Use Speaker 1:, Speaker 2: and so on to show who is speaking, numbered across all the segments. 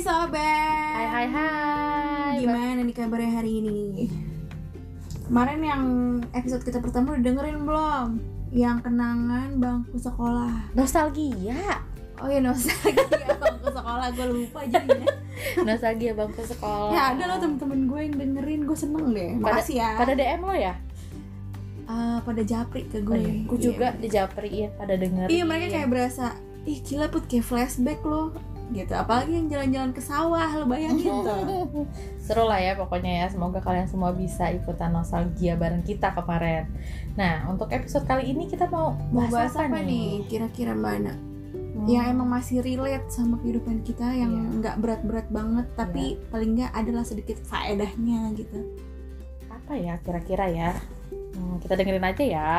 Speaker 1: sobat.
Speaker 2: Hai hai hai.
Speaker 1: Gimana nih kabarnya hari ini? Kemarin yang episode kita pertama udah dengerin belum? Yang kenangan bangku sekolah.
Speaker 2: Nostalgia.
Speaker 1: Oh iya nostalgia bangku sekolah gue lupa jadinya.
Speaker 2: Nostalgia bangku sekolah.
Speaker 1: Ya ada loh temen-temen gue yang dengerin gue seneng deh.
Speaker 2: Pada-
Speaker 1: Makasih ya.
Speaker 2: Pada DM lo ya?
Speaker 1: Ah, pada japri ke gue.
Speaker 2: Oh, iya. Aku
Speaker 1: Iya.
Speaker 2: juga dijapriin pada denger.
Speaker 1: Iya mereka kayak berasa ih gila put kayak flashback loh gitu apalagi yang jalan-jalan ke sawah lo bayangin tuh
Speaker 2: Seru lah ya pokoknya ya. Semoga kalian semua bisa ikutan nostalgia bareng kita kemarin. Nah, untuk episode kali ini kita mau
Speaker 1: mau
Speaker 2: bahas,
Speaker 1: bahas apa nih kira-kira mana
Speaker 2: Hmm.
Speaker 1: yang Ya, emang masih relate sama kehidupan kita yang
Speaker 2: Iya.
Speaker 1: nggak berat-berat banget tapi paling nggak adalah sedikit faedahnya gitu
Speaker 2: apa ya kira-kira ya? Hmm, kita dengerin aja ya.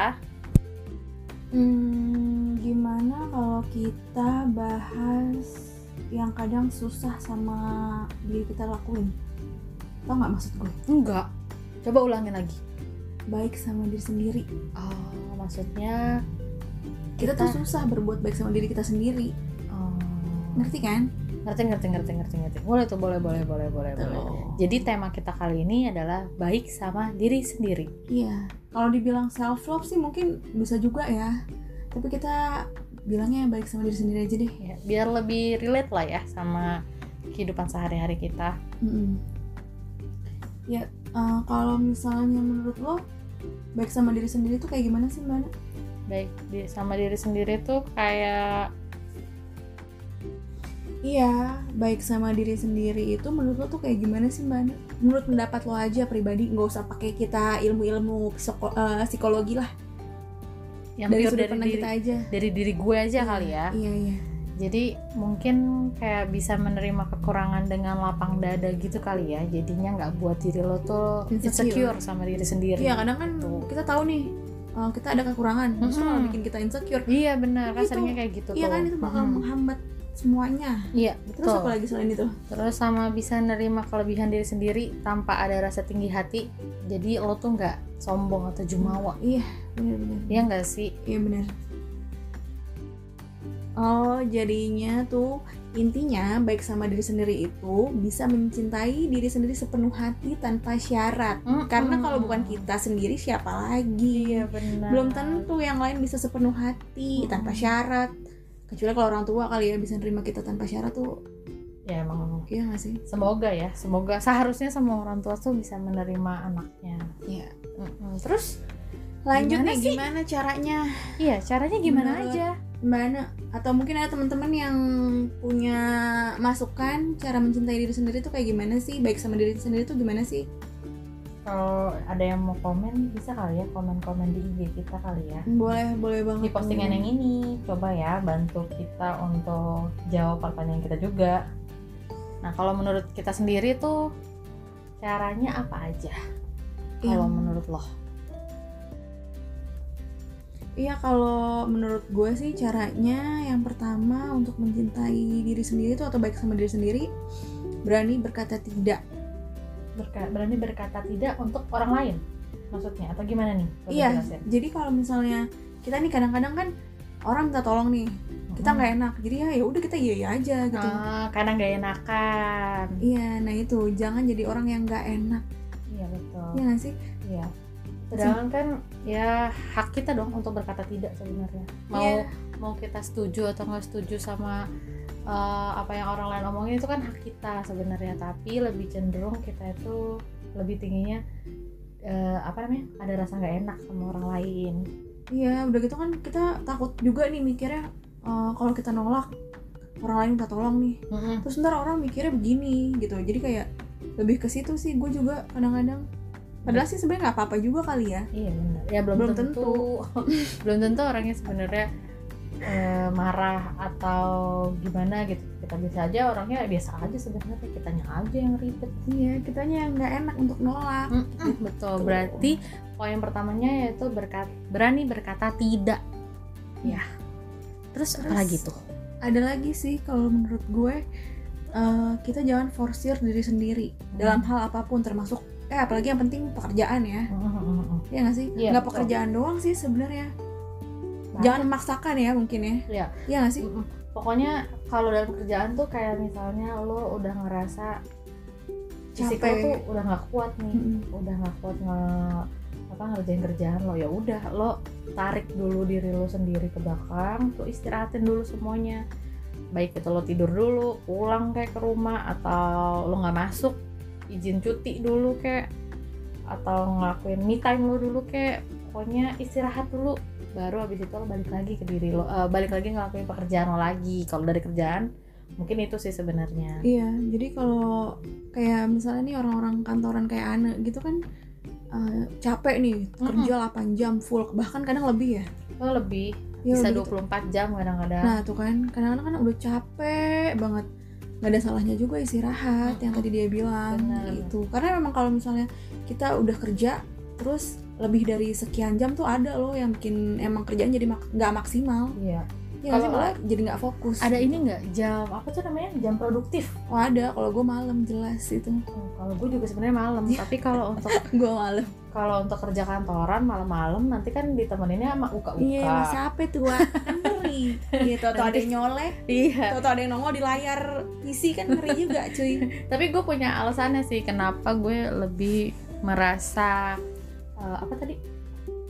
Speaker 1: hmm, gimana kalau kita bahas yang kadang susah sama diri kita lakuin tau nggak maksud gue
Speaker 2: Enggak. Coba ulangin lagi.
Speaker 1: baik sama diri sendiri
Speaker 2: Oh, maksudnya
Speaker 1: kita tuh susah berbuat baik sama diri kita sendiri
Speaker 2: oh,
Speaker 1: ngerti kan
Speaker 2: ngerti ngerti ngerti ngerti ngerti boleh tuh boleh boleh boleh
Speaker 1: Iya,
Speaker 2: boleh boleh
Speaker 1: Tuh.
Speaker 2: jadi tema kita kali ini adalah baik sama diri sendiri
Speaker 1: iya kalau dibilang self love sih mungkin bisa juga ya tapi kita bilangnya baik sama diri sendiri aja deh
Speaker 2: ya, biar lebih relate lah ya sama kehidupan sehari-hari kita
Speaker 1: Mm-mm. ya eh, kalau misalnya menurut lo baik sama diri sendiri tuh kayak gimana sih mbak Ana?
Speaker 2: baik di- sama diri sendiri tuh kayak
Speaker 1: iya baik sama diri sendiri itu menurut lo tuh kayak gimana sih mbak Ana? menurut pendapat lo aja pribadi nggak usah pakai kita ilmu-ilmu psiko- eh, psikologi lah
Speaker 2: yang
Speaker 1: dari
Speaker 2: pure
Speaker 1: sudut
Speaker 2: dari
Speaker 1: pandang
Speaker 2: diri,
Speaker 1: kita aja
Speaker 2: dari diri gue aja kali ya
Speaker 1: iya iya
Speaker 2: jadi mungkin kayak bisa menerima kekurangan dengan lapang dada gitu kali ya jadinya nggak buat diri lo tuh
Speaker 1: Insecure.
Speaker 2: insecure, sama diri sendiri
Speaker 1: Iya kadang kan
Speaker 2: Gitu.
Speaker 1: kita tahu nih uh, kita ada kekurangan, justru
Speaker 2: Mm-mm.
Speaker 1: malah bikin kita insecure.
Speaker 2: iya benar kan
Speaker 1: Itu.
Speaker 2: seringnya kayak gitu
Speaker 1: Iya
Speaker 2: tuh
Speaker 1: kan itu bakal
Speaker 2: Mm-mm.
Speaker 1: menghambat semuanya.
Speaker 2: iya
Speaker 1: Terus
Speaker 2: betul.
Speaker 1: apa lagi selain itu?
Speaker 2: Terus sama bisa nerima kelebihan diri sendiri tanpa ada rasa tinggi hati. Jadi lo tuh nggak sombong atau jumawa.
Speaker 1: Iya benar-benar.
Speaker 2: Iya nggak sih?
Speaker 1: Iya benar. Oh jadinya tuh intinya baik sama diri sendiri itu bisa mencintai diri sendiri sepenuh hati tanpa syarat. Karena kalau bukan kita sendiri siapa lagi?
Speaker 2: Hmm. Iya benar. Hmm.
Speaker 1: Belum tentu yang lain bisa sepenuh hati
Speaker 2: Mm-mm.
Speaker 1: tanpa syarat. Kecuali kalau orang tua kali ya bisa nerima kita tanpa syarat tuh,
Speaker 2: Ya emang.
Speaker 1: iya gak sih?
Speaker 2: Semoga ya, semoga seharusnya semua orang tua tuh bisa menerima anaknya.
Speaker 1: Iya.
Speaker 2: Mm-mm. Terus,
Speaker 1: lanjut
Speaker 2: Gimana
Speaker 1: nih
Speaker 2: sih?
Speaker 1: gimana caranya
Speaker 2: iya caranya gimana
Speaker 1: Menurut-
Speaker 2: aja?
Speaker 1: mbak Ana atau mungkin ada teman-teman yang punya masukan cara mencintai diri sendiri tuh kayak gimana sih baik sama diri sendiri tuh gimana sih
Speaker 2: Kalau ada yang mau komen bisa kali ya komen-komen di IG kita kali ya.
Speaker 1: boleh boleh banget
Speaker 2: Di postingan yang ini coba ya bantu kita untuk jawab pertanyaan kita juga nah kalau menurut kita sendiri tuh caranya apa aja kalau
Speaker 1: Yang-
Speaker 2: menurut lo
Speaker 1: iya kalau menurut gue sih caranya yang pertama untuk mencintai diri sendiri tuh atau baik sama diri sendiri berani berkata tidak
Speaker 2: Berka- berani berkata tidak untuk orang lain maksudnya atau gimana nih Coba
Speaker 1: iya
Speaker 2: jelasin.
Speaker 1: jadi kalau misalnya kita nih kadang-kadang kan orang minta tolong nih kita
Speaker 2: Mm-mm.
Speaker 1: nggak enak jadi ya ya udah kita iya iya aja gitu
Speaker 2: Hmm. Ah, karena nggak enakan
Speaker 1: Iya, nah itu jangan jadi orang yang nggak enak,
Speaker 2: iya betul
Speaker 1: ya nggak sih?
Speaker 2: iya sedangkan kan ya hak kita dong untuk berkata tidak sebenarnya mau
Speaker 1: Iya.
Speaker 2: mau kita setuju atau nggak setuju sama eh, apa yang orang lain omongin itu kan hak kita sebenarnya tapi lebih cenderung kita itu lebih tingginya eh, apa namanya ada rasa nggak enak sama orang lain
Speaker 1: Iya, udah gitu kan kita takut juga nih mikirnya eh, kalau kita nolak orang lain minta tolong nih, terus ntar orang mikirnya begini gitu. Jadi kayak lebih ke situ sih, gue juga kadang-kadang. Padahal sih sebenarnya nggak apa-apa juga kali ya.
Speaker 2: iya benar ya belum,
Speaker 1: Belum
Speaker 2: tentu, belum tentu orangnya sebenarnya eh, marah atau gimana gitu kita bisa aja orangnya biasa aja sebenarnya kitanya aja yang ribet
Speaker 1: Iya, kitanya yang nggak enak untuk nolak.
Speaker 2: Mm-mm, betul.
Speaker 1: Betul.
Speaker 2: Berarti poin pertamanya yaitu berkat, berani berkata tidak. Ya. Terus,
Speaker 1: Terus-
Speaker 2: apa lagi tuh?
Speaker 1: Ada lagi sih kalau menurut gue eh, kita jangan forsir diri sendiri dalam hal apapun termasuk eh apalagi yang penting pekerjaan ya. Iya nggak sih?
Speaker 2: Iya,
Speaker 1: nggak
Speaker 2: betul.
Speaker 1: pekerjaan doang sih sebenarnya.
Speaker 2: Banyak.
Speaker 1: Jangan memaksakan ya mungkin ya.
Speaker 2: Iya.
Speaker 1: Iya nggak sih?
Speaker 2: Mm-mm. pokoknya kalau dalam kerjaan tuh kayak misalnya lo udah ngerasa fisik lo
Speaker 1: Capek.
Speaker 2: tuh udah nggak kuat nih
Speaker 1: Mm-mm.
Speaker 2: udah nggak kuat nge apa ngerjain kerjaan lo ya udah lo tarik dulu diri lo sendiri ke belakang lo istirahatin dulu semuanya baik itu lo tidur dulu pulang kayak ke rumah atau lo nggak masuk izin cuti dulu kayak atau ngelakuin me time lo dulu kayak pokoknya istirahat dulu baru abis itu lo balik lagi ke diri lo eh, balik lagi ngelakuin pekerjaan lo lagi kalau dari kerjaan mungkin itu sih sebenarnya
Speaker 1: Iya, jadi kalau kayak misalnya nih orang-orang kantoran kayak Ana gitu kan eh, capek nih kerja 8 jam full bahkan kadang lebih ya.
Speaker 2: lo lebih
Speaker 1: Ya,
Speaker 2: bisa
Speaker 1: lebih gitu.
Speaker 2: 24 jam kadang-kadang
Speaker 1: Nah, tuh kan kadang-kadang kan udah capek banget. nggak ada salahnya juga istirahat yang tadi dia bilang
Speaker 2: Benar.
Speaker 1: gitu. Karena memang kalau misalnya kita udah kerja terus lebih dari sekian jam tuh ada loh yang bikin emang kerjaan jadi mak- nggak maksimal.
Speaker 2: iya
Speaker 1: Ya,
Speaker 2: Kalau-
Speaker 1: kalau malah jadi nggak fokus.
Speaker 2: ada ini nggak jam apa tuh namanya jam produktif
Speaker 1: Oh, ada. Kalau gue malam jelas itu.
Speaker 2: Hmm, kalau gue juga sebenarnya malam tapi kalau untuk
Speaker 1: gue malam.
Speaker 2: kalau untuk kerja kantoran malam-malam nanti kan ditemeninnya sama uka-uka
Speaker 1: Iya, emang capek tuh, Wak. Kan ngeri. Iya, tau ada yang nyolek.
Speaker 2: Iya.
Speaker 1: Tau-tau ada yang nongol di layar PC kan ngeri juga cuy
Speaker 2: tapi gue punya alasannya sih kenapa gue lebih merasa eh, apa tadi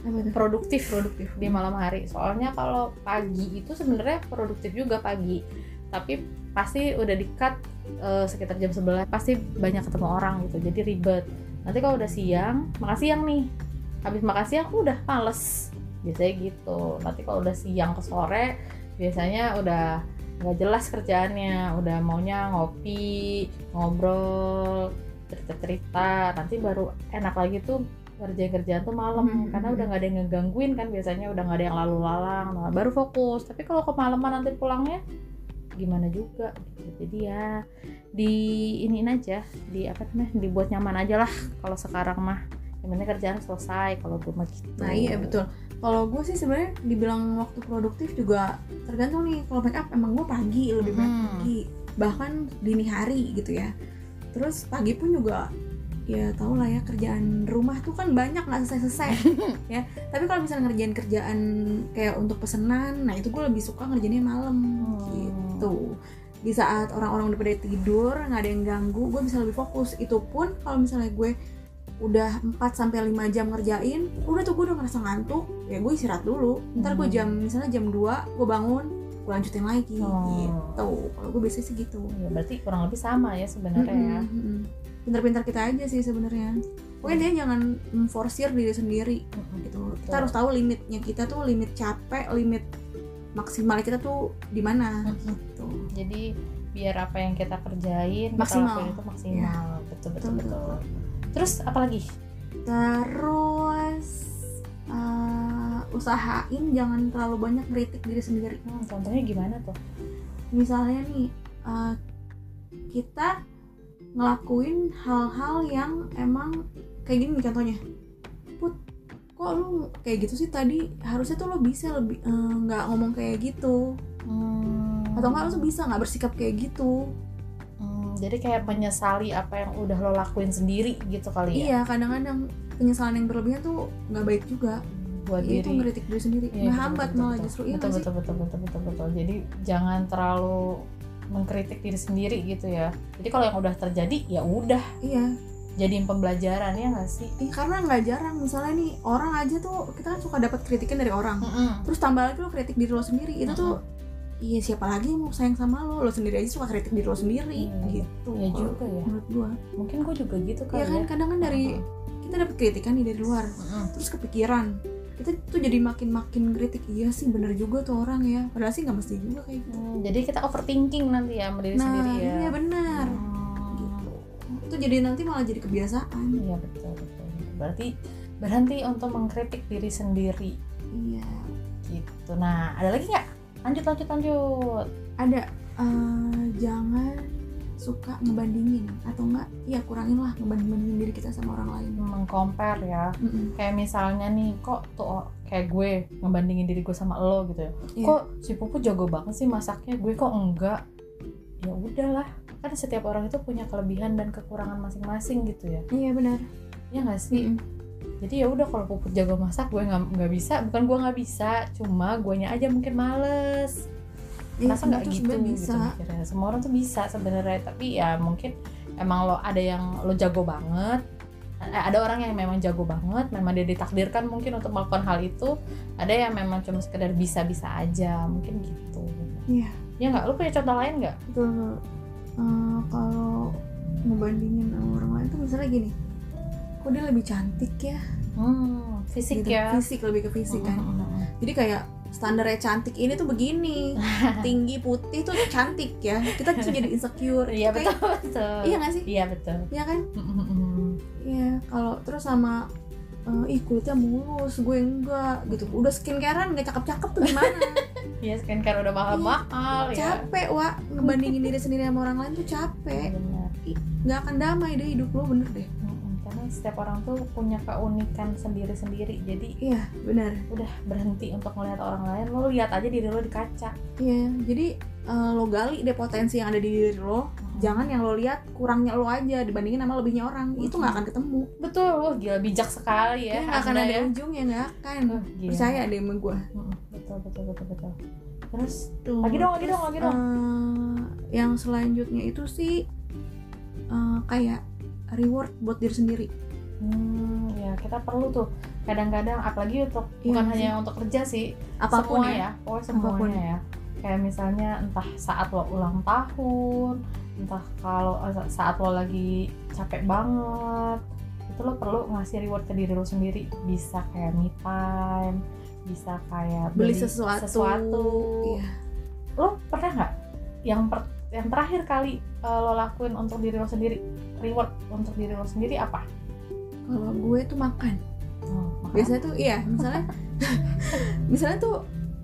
Speaker 1: Apa tuh?
Speaker 2: produktif
Speaker 1: Produktif
Speaker 2: di malam hari soalnya kalau pagi itu sebenarnya produktif juga pagi tapi pasti udah di cut eh, sekitar jam 11 pasti banyak ketemu orang gitu jadi ribet nanti kalau udah siang makan siang nih habis makan siang udah males biasanya gitu nanti kalau udah siang ke sore biasanya udah nggak jelas kerjaannya udah maunya ngopi ngobrol cerita-cerita nanti baru enak lagi tuh kerja kerjaan tuh malam
Speaker 1: Hmm.
Speaker 2: karena udah nggak ada yang ngegangguin kan biasanya udah nggak ada yang lalu-lalang nah, baru fokus tapi kalau kemalaman nanti pulangnya gimana juga gitu. jadi ya di iniin aja di apa namanya dibuat nyaman aja lah kalau sekarang mah yang penting kerjaan selesai kalau gue mah gitu
Speaker 1: Nah iya betul Kalau gue sih sebenarnya dibilang waktu produktif juga tergantung nih Kalau make up emang gue pagi lebih banyak
Speaker 2: Hmm.
Speaker 1: pagi Bahkan dini hari gitu ya Terus pagi pun juga ya tau lah ya kerjaan rumah tuh kan banyak nggak selesai-selesai ya tapi kalau misalnya ngerjain kerjaan kayak untuk pesenan nah itu gue lebih suka ngerjainnya malam
Speaker 2: Hmm.
Speaker 1: gitu di saat orang-orang udah pada tidur nggak ada yang ganggu gue bisa lebih fokus itu pun kalau misalnya gue udah 4 sampai 5 jam ngerjain udah tuh gue udah ngerasa ngantuk ya gue istirahat dulu ntar gue
Speaker 2: Hmm.
Speaker 1: jam misalnya jam 2 gue bangun gue lanjutin lagi
Speaker 2: Oh.
Speaker 1: gitu kalau gue biasanya sih gitu
Speaker 2: Ya, berarti kurang lebih sama ya sebenarnya ya
Speaker 1: Mm-mm, mm-mm. pinter-pinter kita aja sih sebenarnya pokoknya dia jangan memforsir diri sendiri
Speaker 2: Mm-mm.
Speaker 1: gitu kita
Speaker 2: Betul.
Speaker 1: harus tahu limitnya kita tuh limit capek limit maksimal kita tuh di mana
Speaker 2: Mm-mm.
Speaker 1: gitu
Speaker 2: jadi biar apa yang kita kerjain kita
Speaker 1: Maksimal. Iya.
Speaker 2: lakuin itu maksimal betul betul
Speaker 1: Betul.
Speaker 2: betul terus apalagi
Speaker 1: terus eh, usahain jangan terlalu banyak kritik diri sendiri
Speaker 2: hmm, contohnya gimana tuh
Speaker 1: misalnya nih eh, kita ngelakuin hal-hal yang emang kayak gini nih contohnya put kok lu kayak gitu sih tadi harusnya tuh lo bisa lebih eh, nggak ngomong kayak gitu
Speaker 2: Hmm.
Speaker 1: atau nggak lo tuh bisa nggak bersikap kayak gitu
Speaker 2: Hmm, jadi kayak menyesali apa yang udah lo lakuin sendiri gitu kali ya
Speaker 1: iya kadang-kadang penyesalan yang berlebihan tuh nggak baik juga
Speaker 2: buat
Speaker 1: Ya, itu
Speaker 2: diri
Speaker 1: ngeritik diri sendiri
Speaker 2: Iya,
Speaker 1: menghambat
Speaker 2: betul, betul,
Speaker 1: malah
Speaker 2: betul.
Speaker 1: justru iya
Speaker 2: betul,
Speaker 1: nggak sih?
Speaker 2: betul, betul betul betul betul jadi jangan terlalu mengkritik diri sendiri gitu ya jadi kalau yang udah terjadi ya udah
Speaker 1: iya
Speaker 2: jadiin pembelajaran ya nggak sih
Speaker 1: Ih, karena nggak jarang misalnya nih orang aja tuh kita kan suka dapat kritikan dari orang terus tambah lagi lo kritik diri lo sendiri itu tuh iya siapa lagi yang mau sayang sama lo lo sendiri aja suka kritik diri lo sendiri
Speaker 2: Iya.
Speaker 1: gitu
Speaker 2: ya juga ya
Speaker 1: menurut gua
Speaker 2: mungkin gue juga gitu kali
Speaker 1: ya
Speaker 2: ya,
Speaker 1: kan kadang kan dari kita dapat kritikan nih dari luar
Speaker 2: Mm-mm.
Speaker 1: terus kepikiran kita tuh jadi makin makin kritik iya sih bener juga tuh orang ya padahal sih nggak mesti juga kayak gitu
Speaker 2: Hmm, jadi kita overthinking nanti ya sama diri
Speaker 1: nah
Speaker 2: sendiri ya
Speaker 1: iya benar
Speaker 2: Hmm.
Speaker 1: gitu itu jadi nanti malah jadi kebiasaan
Speaker 2: Iya, betul betul berarti berhenti untuk mengkritik diri sendiri
Speaker 1: iya
Speaker 2: gitu nah ada lagi nggak lanjut lanjut lanjut
Speaker 1: ada eh, jangan suka ngebandingin atau enggak ya kurangin lah ngebanding-bandingin diri kita sama orang lain
Speaker 2: mengcompare ya
Speaker 1: Mm-mm.
Speaker 2: kayak misalnya nih kok tuh o- kayak gue ngebandingin diri gue sama lo gitu ya
Speaker 1: Iya.
Speaker 2: kok si pupu jago banget sih masaknya gue kok enggak ya udahlah kan setiap orang itu punya kelebihan dan kekurangan masing-masing gitu ya
Speaker 1: iya benar Iya,
Speaker 2: ya nggak sih
Speaker 1: Mm-mm.
Speaker 2: jadi ya udah kalau puput jago masak gue nggak nggak bisa bukan gue nggak bisa cuma guanya aja mungkin males
Speaker 1: Iya,
Speaker 2: Masa
Speaker 1: sebenarnya
Speaker 2: nggak
Speaker 1: tuh
Speaker 2: gitu
Speaker 1: sebenarnya
Speaker 2: gitu
Speaker 1: bisa.
Speaker 2: mikirnya. Semua orang tuh bisa sebenarnya, tapi ya mungkin emang lo ada yang lo jago banget. Eh, Ada orang yang memang jago banget, memang dia ditakdirkan mungkin untuk melakukan hal itu. Ada yang memang cuma sekedar bisa-bisa aja, mungkin gitu.
Speaker 1: Iya.
Speaker 2: Ya nggak, lo punya contoh lain nggak?
Speaker 1: Betul. Eh, kalau ngebandingin sama orang lain tuh misalnya gini, kok dia lebih cantik ya?
Speaker 2: Hmm, fisik
Speaker 1: Gitu.
Speaker 2: ya.
Speaker 1: Fisik lebih ke fisik kan.
Speaker 2: Mm, mm, mm.
Speaker 1: Jadi kayak standarnya cantik ini tuh begini, tinggi putih tuh cantik ya. Kita tuh jadi insecure. gitu.
Speaker 2: Iya
Speaker 1: Kayak-
Speaker 2: betul betul.
Speaker 1: Iya nggak sih?
Speaker 2: Iya betul.
Speaker 1: Iya kan?
Speaker 2: Mm, mm, mm.
Speaker 1: Iya. Kalau terus sama eh, ih kulitnya mulus, gue enggak gitu. Udah skincarean nggak cakep-cakep tuh gimana?
Speaker 2: Iya skincare udah mahal mahal ya.
Speaker 1: capek wa ngebandingin diri sendiri sama orang lain tuh capek.
Speaker 2: Benar.
Speaker 1: Nggak akan damai deh hidup lo bener deh.
Speaker 2: Mm-mm, karena setiap orang tuh punya keunikan sendiri-sendiri jadi
Speaker 1: Iya bener.
Speaker 2: udah berhenti untuk melihat orang lain lo lihat aja diri lo di kaca
Speaker 1: Iya, jadi eh, lo gali deh potensi yang ada di diri lo. Jangan yang lo lihat kurangnya lo aja dibandingin sama lebihnya orang. Itu nggak akan ketemu.
Speaker 2: betul wah gila bijak sekali
Speaker 1: Ya, Iya.
Speaker 2: ya
Speaker 1: nggak akan
Speaker 2: Anda
Speaker 1: ada
Speaker 2: ya.
Speaker 1: ujungnya, nggak akan.
Speaker 2: Wah, gila.
Speaker 1: Percaya deh sama gue.
Speaker 2: Mm-mm, betul betul betul betul terus
Speaker 1: Tuh.
Speaker 2: lagi dong lagi dong lagi dong
Speaker 1: Eh, yang selanjutnya itu sih eh, kayak reward buat diri sendiri.
Speaker 2: hmm, ya kita perlu tuh kadang-kadang apalagi untuk
Speaker 1: Iya
Speaker 2: bukan
Speaker 1: sih.
Speaker 2: hanya untuk kerja sih
Speaker 1: Apapun
Speaker 2: semua
Speaker 1: ya.
Speaker 2: ya, oh semuanya
Speaker 1: Apapun.
Speaker 2: ya. Kayak misalnya entah saat lo ulang tahun, entah kalau eh, saat lo lagi capek banget, itu lo perlu ngasih reward ke diri lo sendiri. Bisa kayak me time, bisa kayak
Speaker 1: Beli sesuatu.
Speaker 2: sesuatu.
Speaker 1: Iya.
Speaker 2: Lo pernah nggak yang per- yang terakhir kali eh, lo lakuin untuk diri lo sendiri reward untuk diri lo sendiri apa?
Speaker 1: Kalau gue tuh makan.
Speaker 2: Hmm, makan.
Speaker 1: Biasanya tuh iya, misalnya misalnya tuh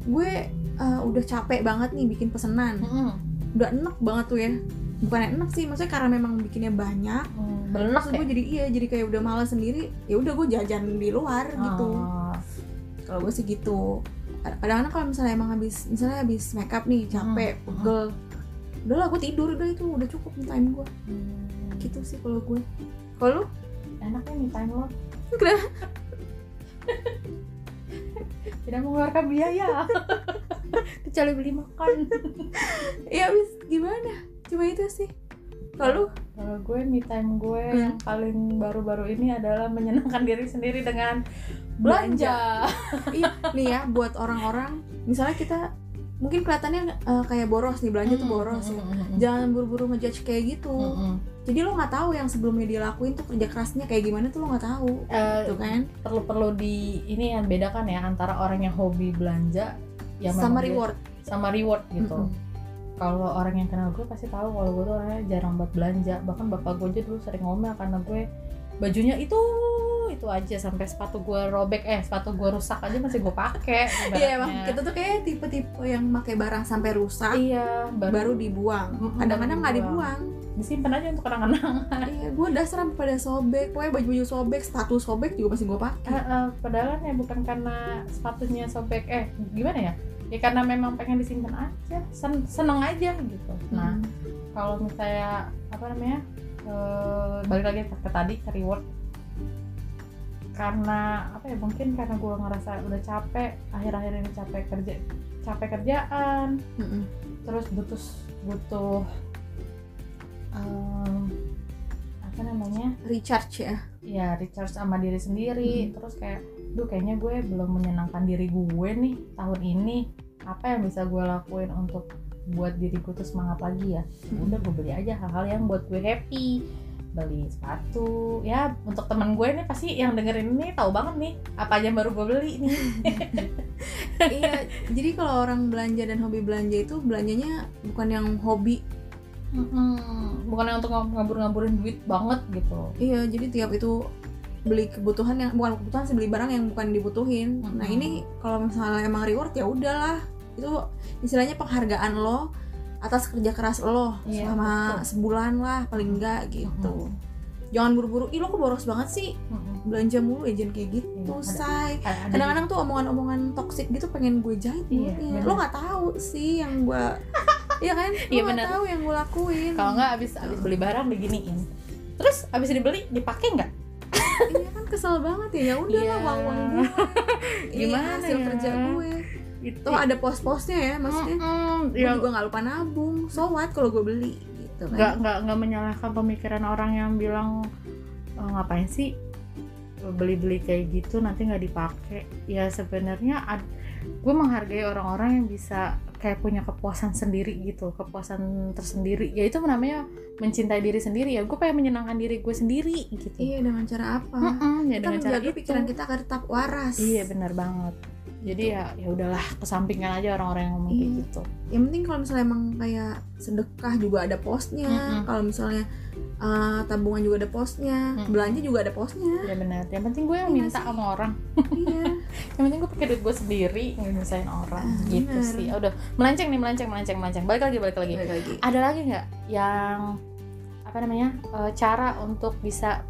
Speaker 1: gue eh, udah capek banget nih bikin pesenan.
Speaker 2: Mm-mm.
Speaker 1: udah enak banget tuh ya bukan enak sih maksudnya karena memang bikinnya banyak
Speaker 2: Hmm, belenak
Speaker 1: terus
Speaker 2: ya?
Speaker 1: gue jadi iya jadi kayak udah malas sendiri ya udah gue jajan di luar gitu
Speaker 2: Ah,
Speaker 1: kalau gue sih gitu kadang-kadang kalau misalnya emang habis misalnya habis makeup nih capek
Speaker 2: Hmm.
Speaker 1: pegel udah lah gue tidur udah itu udah cukup me time gue
Speaker 2: hmm.
Speaker 1: gitu sih kalau gue kalau lu
Speaker 2: enaknya me time lo
Speaker 1: Kenapa?
Speaker 2: tidak mengeluarkan biaya kecuali beli makan
Speaker 1: ya habis gimana cuma itu sih kalau lu
Speaker 2: kalau gue me time gue
Speaker 1: Hmm.
Speaker 2: yang paling baru-baru ini adalah menyenangkan diri sendiri dengan belanja
Speaker 1: iya nih ya buat orang-orang misalnya kita mungkin kelihatannya eh, kayak boros nih belanja tuh boros
Speaker 2: Hmm,
Speaker 1: ya jangan buru-buru ngejudge kayak gitu jadi lo nggak tahu yang sebelumnya dia lakuin tuh kerja kerasnya kayak gimana tuh lo nggak tahu
Speaker 2: Eh,
Speaker 1: gitu kan
Speaker 2: perlu-perlu di ini yang bedakan ya antara orang yang hobi belanja yang
Speaker 1: sama
Speaker 2: ya memang dia-
Speaker 1: reward
Speaker 2: sama reward gitu
Speaker 1: Mm-mm.
Speaker 2: kalau orang yang kenal gue pasti tahu kalau gue tuh orangnya jarang buat belanja bahkan bapak gue aja dulu sering ngomel karena gue bajunya itu itu aja sampai sepatu gue robek eh sepatu gue rusak aja masih gue pakai
Speaker 1: iya
Speaker 2: ibaratnya.
Speaker 1: emang kita tuh kayak tipe-tipe yang pakai barang sampai rusak
Speaker 2: iya baru,
Speaker 1: baru dibuang
Speaker 2: Mm-mm,
Speaker 1: kadang-kadang
Speaker 2: baru
Speaker 1: nggak
Speaker 2: dibuang.
Speaker 1: dibuang
Speaker 2: disimpan aja untuk kenang-kenang
Speaker 1: iya gue dasar sampai pada sobek pokoknya baju-baju sobek sepatu sobek juga masih gue pakai
Speaker 2: Eh, eh, padahal kan ya bukan karena sepatunya sobek eh gimana ya ya karena memang pengen disimpan aja sen- seneng aja gitu nah
Speaker 1: Hmm.
Speaker 2: kalau misalnya apa namanya eh, balik lagi ke, ke tadi ke reward karena apa ya mungkin karena gue ngerasa udah capek akhir-akhir ini capek kerja capek kerjaan
Speaker 1: Mm-mm.
Speaker 2: terus butuh butuh em, apa namanya
Speaker 1: recharge ya
Speaker 2: ya recharge sama diri sendiri terus kayak duh kayaknya gue belum menyenangkan diri gue nih tahun ini apa yang bisa gue lakuin untuk buat diriku tuh semangat lagi ya Ya
Speaker 1: Mm.
Speaker 2: udah gue beli aja hal-hal yang buat gue happy beli sepatu ya untuk teman gue nih pasti yang dengerin ini tahu banget nih apa aja yang baru gue beli nih
Speaker 1: iya jadi kalau orang belanja dan hobi belanja itu belanjanya bukan yang hobi
Speaker 2: Mm-mm. bukan yang untuk ngab- ngabur-ngaburin duit banget gitu
Speaker 1: Iya, jadi tiap itu beli kebutuhan yang bukan kebutuhan sih beli barang yang bukan dibutuhin.
Speaker 2: Mhm.
Speaker 1: Nah ini kalau misalnya emang reward ya udahlah itu istilahnya penghargaan lo atas kerja keras lo
Speaker 2: Iya,
Speaker 1: selama
Speaker 2: betul. Hmm.
Speaker 1: sebulan lah paling enggak gitu. Jangan buru-buru, ih lo kok boros banget sih
Speaker 2: Mm-mm.
Speaker 1: belanja mulu ya jangan kayak gitu,
Speaker 2: Iya, ada-
Speaker 1: say.
Speaker 2: Ada- ada
Speaker 1: Kadang-kadang tuh omongan-omongan toksik gitu pengen gue jahit
Speaker 2: Iya,
Speaker 1: mulutnya.
Speaker 2: bener.
Speaker 1: Lo nggak tahu sih yang gue, iya kan? Lo
Speaker 2: Iya,
Speaker 1: nggak
Speaker 2: bener.
Speaker 1: tahu yang gue lakuin.
Speaker 2: kalau nggak abis abis beli barang diginiin terus abis dibeli dipakai nggak
Speaker 1: iya kan kesel banget ya ya udah
Speaker 2: Iya.
Speaker 1: lah uang uang gue Iya,
Speaker 2: Gimana
Speaker 1: hasil
Speaker 2: ya?
Speaker 1: kerja gue
Speaker 2: itu
Speaker 1: Tuh ada pos-posnya ya, maksudnya
Speaker 2: Mm-mm,
Speaker 1: gue
Speaker 2: ya
Speaker 1: juga nggak lupa nabung so what kalau gue beli gitu kan
Speaker 2: nggak nggak nggak menyalahkan pemikiran orang yang bilang "Eh, ngapain sih beli-beli kayak gitu nanti nggak dipakai ya sebenarnya gue menghargai orang-orang yang bisa kayak punya kepuasan sendiri gitu kepuasan tersendiri ya itu namanya mencintai diri sendiri ya gue pengen menyenangkan diri gue sendiri gitu
Speaker 1: iya dengan cara apa
Speaker 2: Mm-mm,
Speaker 1: kita
Speaker 2: ya dengan cara
Speaker 1: menjaga
Speaker 2: itu.
Speaker 1: pikiran kita agar tetap waras
Speaker 2: iya benar banget jadi ya ya udahlah kesampingkan aja orang-orang yang ngomong kayak
Speaker 1: Iya.
Speaker 2: gitu
Speaker 1: yang penting kalau misalnya emang kayak sedekah juga ada posnya
Speaker 2: Mm-mm.
Speaker 1: kalau misalnya uh, tabungan juga ada posnya
Speaker 2: Mm-mm.
Speaker 1: belanja juga ada posnya
Speaker 2: ya benar yang penting gue yang
Speaker 1: Iya
Speaker 2: minta
Speaker 1: sih.
Speaker 2: sama orang
Speaker 1: iya
Speaker 2: yang penting gue pakai duit gue sendiri nggak nyusahin orang
Speaker 1: Ah,
Speaker 2: gitu
Speaker 1: bener.
Speaker 2: sih udah melenceng nih melenceng melenceng melenceng balik lagi balik lagi
Speaker 1: Balik lagi
Speaker 2: ada lagi nggak yang apa namanya eh, cara untuk bisa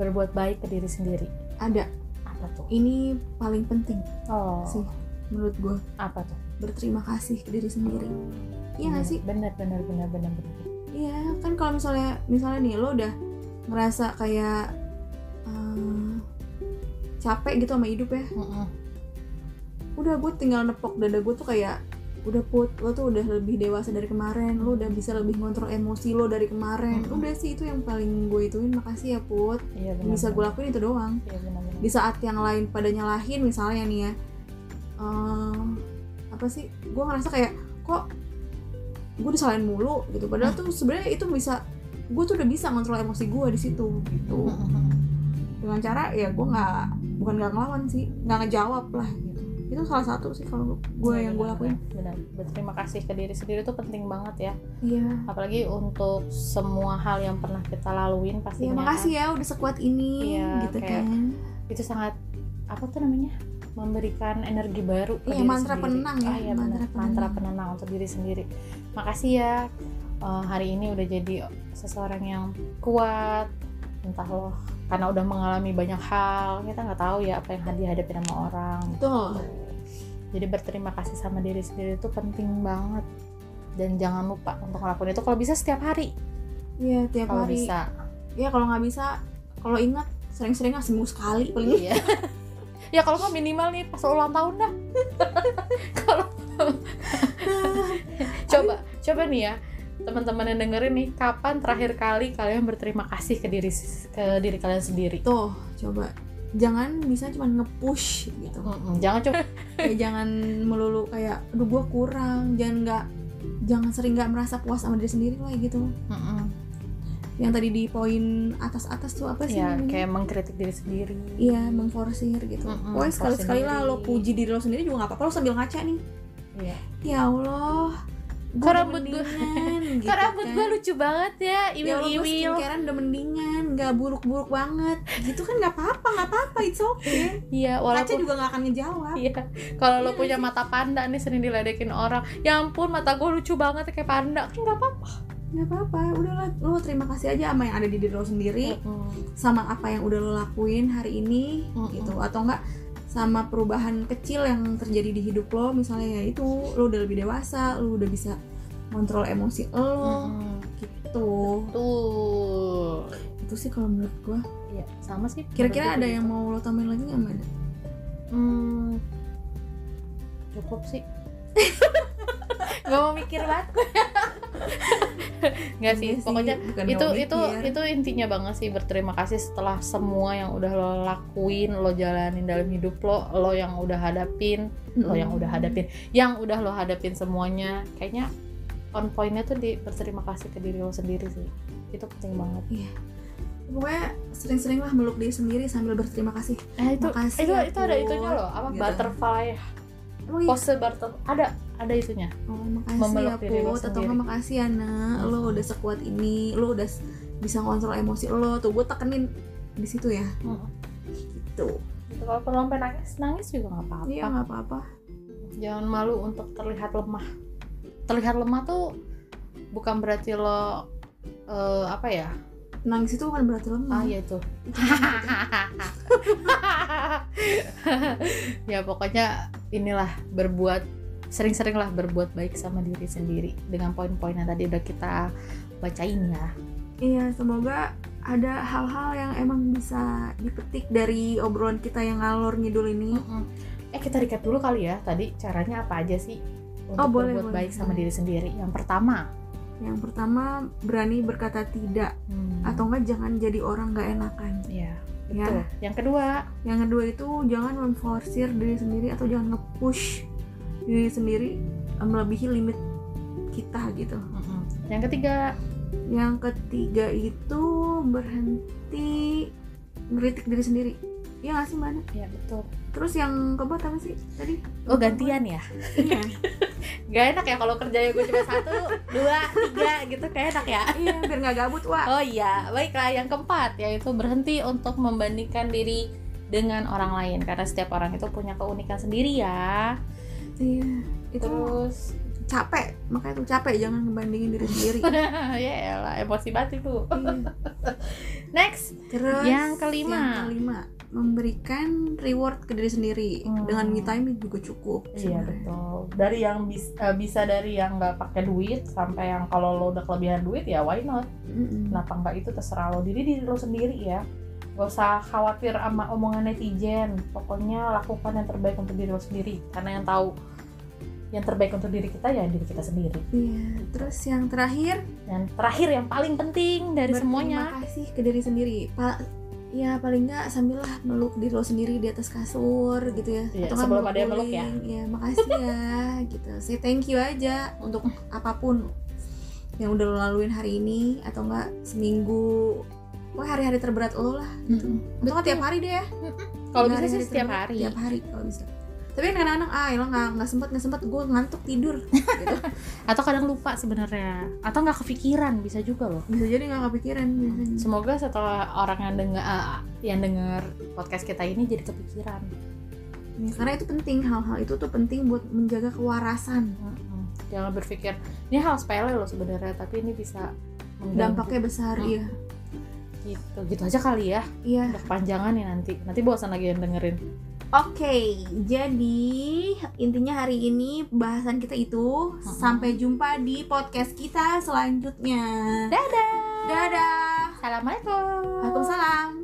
Speaker 2: berbuat baik ke diri sendiri
Speaker 1: ada
Speaker 2: apa tuh
Speaker 1: ini paling penting
Speaker 2: oh
Speaker 1: sih menurut gue
Speaker 2: apa tuh
Speaker 1: berterima kasih ke diri sendiri iya nggak sih
Speaker 2: bener bener bener bener bener
Speaker 1: Iya, kan kalau misalnya misalnya nih lo udah ngerasa kayak eh, capek gitu sama hidup ya.
Speaker 2: Mm-mm.
Speaker 1: Udah gue tinggal nepok dada gue tuh kayak udah put lo tuh udah lebih dewasa dari kemarin lo udah bisa lebih ngontrol emosi lo dari kemarin
Speaker 2: Mm-mm.
Speaker 1: udah sih itu yang paling gue ituin makasih ya put
Speaker 2: iya bener
Speaker 1: Yang bisa gue lakuin itu doang
Speaker 2: iya bener bener
Speaker 1: di saat yang lain pada nyalahin misalnya nih ya eh, apa sih gue ngerasa kayak kok gue disalahin mulu gitu padahal tuh sebenarnya itu bisa gue tuh udah bisa ngontrol emosi gue di situ gitu
Speaker 2: Mm-mm.
Speaker 1: dengan cara ya gue nggak bukan nggak ngelawan sih nggak ngejawab lah gitu itu salah satu sih kalau gue
Speaker 2: Iya,
Speaker 1: yang gue
Speaker 2: bener,
Speaker 1: lakuin
Speaker 2: bener Bener. berterima kasih ke diri sendiri tuh penting banget ya
Speaker 1: iya
Speaker 2: apalagi untuk semua hal yang pernah kita laluin
Speaker 1: ya
Speaker 2: pastinya
Speaker 1: makasih ya udah sekuat ini
Speaker 2: Iya,
Speaker 1: gitu
Speaker 2: kayak
Speaker 1: kan
Speaker 2: itu sangat apa tuh namanya memberikan energi baru ke
Speaker 1: Iya,
Speaker 2: diri
Speaker 1: mantra
Speaker 2: sendiri.
Speaker 1: penenang ya,
Speaker 2: Ah, iya, benar.
Speaker 1: mantra
Speaker 2: mantra,
Speaker 1: penenang.
Speaker 2: penenang untuk diri sendiri makasih ya eh, hari ini udah jadi seseorang yang kuat entah loh karena udah mengalami banyak hal kita nggak tahu ya apa yang dihadapi sama orang
Speaker 1: tuh
Speaker 2: jadi berterima kasih sama diri sendiri itu penting banget dan jangan lupa untuk ngelakuin itu kalau bisa setiap hari
Speaker 1: iya tiap
Speaker 2: kalau
Speaker 1: hari
Speaker 2: bisa
Speaker 1: ya kalau nggak bisa kalau ingat sering-sering lah seminggu sekali paling
Speaker 2: iya ya kalau nggak minimal nih pas ulang tahun dah kalau coba coba nih ya teman-teman yang dengerin nih kapan terakhir kali kalian berterima kasih ke diri ke diri kalian sendiri
Speaker 1: tuh coba jangan bisa cuma nge-push gitu
Speaker 2: Mm-mm, jangan coba
Speaker 1: ya jangan melulu kayak aduh gue kurang jangan nggak jangan sering nggak merasa puas sama diri sendiri lah gitu
Speaker 2: Mm-mm.
Speaker 1: yang tadi di poin atas atas tuh apa sih
Speaker 2: ya
Speaker 1: namanya?
Speaker 2: kayak mengkritik diri sendiri
Speaker 1: iya memforsir gitu
Speaker 2: Mm-mm,
Speaker 1: pokoknya sekali sekali
Speaker 2: forcing
Speaker 1: lah
Speaker 2: diri.
Speaker 1: lo puji diri lo sendiri juga nggak apa-apa lo sambil ngaca nih
Speaker 2: Iya.
Speaker 1: ya allah
Speaker 2: Kok rambut gua-
Speaker 1: mendingan
Speaker 2: Kok rambut gue lucu banget ya
Speaker 1: gitu kan. Ya Allah, gue
Speaker 2: iwil-iwil
Speaker 1: skincarean udah mendingan, nggak buruk-buruk banget Gitu kan nggak apa-apa, nggak apa-apa, it's okay
Speaker 2: iya
Speaker 1: Kaca
Speaker 2: walaupun
Speaker 1: juga nggak akan ngejawab
Speaker 2: Iya, kalau lo
Speaker 1: Iya
Speaker 2: punya mata panda nih sering diledekin orang, ya ampun mata gue lucu banget kayak panda, kan nggak apa-apa.
Speaker 1: nggak apa-apa udahlah lo terima kasih aja sama yang ada di diri lo sendiri
Speaker 2: Mm.
Speaker 1: sama apa yang udah lo lakuin hari ini
Speaker 2: Mm-mm.
Speaker 1: gitu atau enggak sama perubahan kecil yang terjadi di hidup lo misalnya ya itu lo udah lebih dewasa lo udah bisa kontrol emosi lo
Speaker 2: Mm-mm.
Speaker 1: gitu
Speaker 2: Tuh.
Speaker 1: itu sih kalau menurut gua
Speaker 2: Iya, sama sih.
Speaker 1: kira-kira
Speaker 2: Menurut
Speaker 1: ada
Speaker 2: gue
Speaker 1: yang
Speaker 2: gitu.
Speaker 1: mau lo tambahin lagi nggak mbak
Speaker 2: Hmm, cukup sih. gak mau mikir banget gue. Nggak Iya sih,
Speaker 1: Enggak
Speaker 2: pokoknya
Speaker 1: Iya bukan
Speaker 2: itu
Speaker 1: nggak mau
Speaker 2: itu
Speaker 1: mikir.
Speaker 2: itu intinya banget sih berterima kasih setelah semua yang udah lo lakuin, lo jalanin dalam hidup lo, lo yang udah hadapin, lo yang udah hadapin, yang udah lo hadapin semuanya, kayaknya on pointnya tuh di berterima kasih ke diri lo sendiri sih. Itu penting banget.
Speaker 1: pokoknya sering-sering lah meluk diri sendiri sambil berterima kasih
Speaker 2: Nah, itu
Speaker 1: Makasih
Speaker 2: itu
Speaker 1: ya,
Speaker 2: itu ada
Speaker 1: Put.
Speaker 2: itunya loh, apa
Speaker 1: Gitu.
Speaker 2: butterfly
Speaker 1: emang iya?
Speaker 2: pose butterfly ada ada itunya.
Speaker 1: Oh, makasih ya
Speaker 2: Memeluk diri lo
Speaker 1: Put, atau
Speaker 2: sendiri.
Speaker 1: nggak makasih ya Nak,
Speaker 2: Hmm.
Speaker 1: lo udah sekuat ini, lo udah s- bisa ngontrol emosi lo, tuh gue tekenin di situ ya, gitu.
Speaker 2: Gitu kalau perlu sampai nangis nangis juga nggak apa-apa.
Speaker 1: Iya nggak apa-apa.
Speaker 2: Jangan malu untuk terlihat lemah. Terlihat lemah tuh bukan berarti lo eh, apa ya?
Speaker 1: Nangis itu bukan berarti lemah.
Speaker 2: Ah ya itu.
Speaker 1: Itu kan-
Speaker 2: ya pokoknya inilah berbuat sering-seringlah berbuat baik sama diri sendiri dengan poin-poin yang tadi udah kita bacain ya.
Speaker 1: iya semoga ada hal-hal yang emang bisa dipetik dari obrolan kita yang ngalor ngidul ini.
Speaker 2: Mm-mm. eh kita recap dulu kali ya tadi caranya apa aja sih untuk
Speaker 1: Oh, boleh,
Speaker 2: berbuat
Speaker 1: boleh,
Speaker 2: baik sama
Speaker 1: boleh.
Speaker 2: diri sendiri yang pertama
Speaker 1: Yang pertama berani berkata tidak
Speaker 2: hmm,
Speaker 1: atau enggak jangan jadi orang nggak enakan.
Speaker 2: ya
Speaker 1: Ya.
Speaker 2: betul yang kedua
Speaker 1: Yang kedua itu jangan memforsir diri sendiri atau jangan nge-push diri sendiri eh, melebihi limit kita gitu.
Speaker 2: mm-mm. yang ketiga
Speaker 1: Yang ketiga itu berhenti ngeritik diri sendiri. Iya nggak sih Mbak Ana?
Speaker 2: ya betul
Speaker 1: Terus yang keempat apa sih tadi?
Speaker 2: oh gantian ya
Speaker 1: Iya,
Speaker 2: gak enak ya kalau kerjanya gue cuma satu dua tiga gitu kayak enak ya
Speaker 1: iya biar nggak gabut wah.
Speaker 2: Oh iya, baiklah yang keempat yaitu berhenti untuk membandingkan diri dengan orang lain karena setiap orang itu punya keunikan sendiri ya.
Speaker 1: Iya, itu
Speaker 2: Terus
Speaker 1: capek makanya tuh capek jangan ngebandingin diri sendiri.
Speaker 2: ya elah emosi banget itu.
Speaker 1: Iya.
Speaker 2: Next,
Speaker 1: Terus
Speaker 2: Yang kelima.
Speaker 1: yang kelima, memberikan reward ke diri sendiri
Speaker 2: Hmm.
Speaker 1: dengan me time juga cukup.
Speaker 2: iya
Speaker 1: sebenarnya.
Speaker 2: betul. Dari yang bis- eh, bisa dari yang nggak pakai duit sampai yang kalau lo udah kelebihan duit ya why not?
Speaker 1: Mm-mm.
Speaker 2: Kenapa nggak itu terserah lo diri diri lo sendiri ya. Gak usah khawatir sama omongan netizen. Pokoknya lakukan yang terbaik untuk diri lo sendiri karena yang tahu yang terbaik untuk diri kita ya diri kita sendiri.
Speaker 1: Iya. Terus yang terakhir
Speaker 2: Dan terakhir yang paling penting dari semuanya,
Speaker 1: Terima kasih ke diri sendiri. Pak ya paling nggak sambil lah meluk diri lo sendiri di atas kasur gitu ya.
Speaker 2: Iya,
Speaker 1: Atau nggak
Speaker 2: sebelum ada yang meluk
Speaker 1: guling. Iya, makasih ya gitu. Say thank you aja untuk apapun yang udah lo laluin hari ini atau enggak seminggu Wah hari-hari terberat lo lah
Speaker 2: Mm-mm.
Speaker 1: Atau nggak tiap hari deh ya
Speaker 2: kalau
Speaker 1: Nggak
Speaker 2: bisa
Speaker 1: hari-hari
Speaker 2: sih setiap
Speaker 1: terberat,
Speaker 2: hari.
Speaker 1: Tiap hari kalau bisa Tapi kadang-kadang ah ya nggak nggak sempet nggak sempet gue ngantuk tidur gitu.
Speaker 2: Atau kadang lupa sebenarnya, atau nggak kepikiran bisa juga loh.
Speaker 1: Bisa jadi nggak kepikiran biasanya
Speaker 2: Semoga setelah orang yang dengar eh, yang dengar podcast kita ini jadi kepikiran.
Speaker 1: Ya, Karena itu penting hal-hal itu tuh penting buat menjaga kewarasan
Speaker 2: Mm-mm. Jangan berpikir ini hal sepele loh sebenarnya, tapi ini bisa mengganggu
Speaker 1: dampaknya besar
Speaker 2: Hmm.
Speaker 1: iya
Speaker 2: gitu. Gitu aja kali ya.
Speaker 1: iya
Speaker 2: Udah kepanjangan nih nanti. Nanti bosan lagi yang dengerin.
Speaker 1: oke jadi intinya hari ini bahasan kita itu sampai jumpa di podcast kita selanjutnya dadah dadah
Speaker 2: Assalamualaikum.
Speaker 1: Waalaikumsalam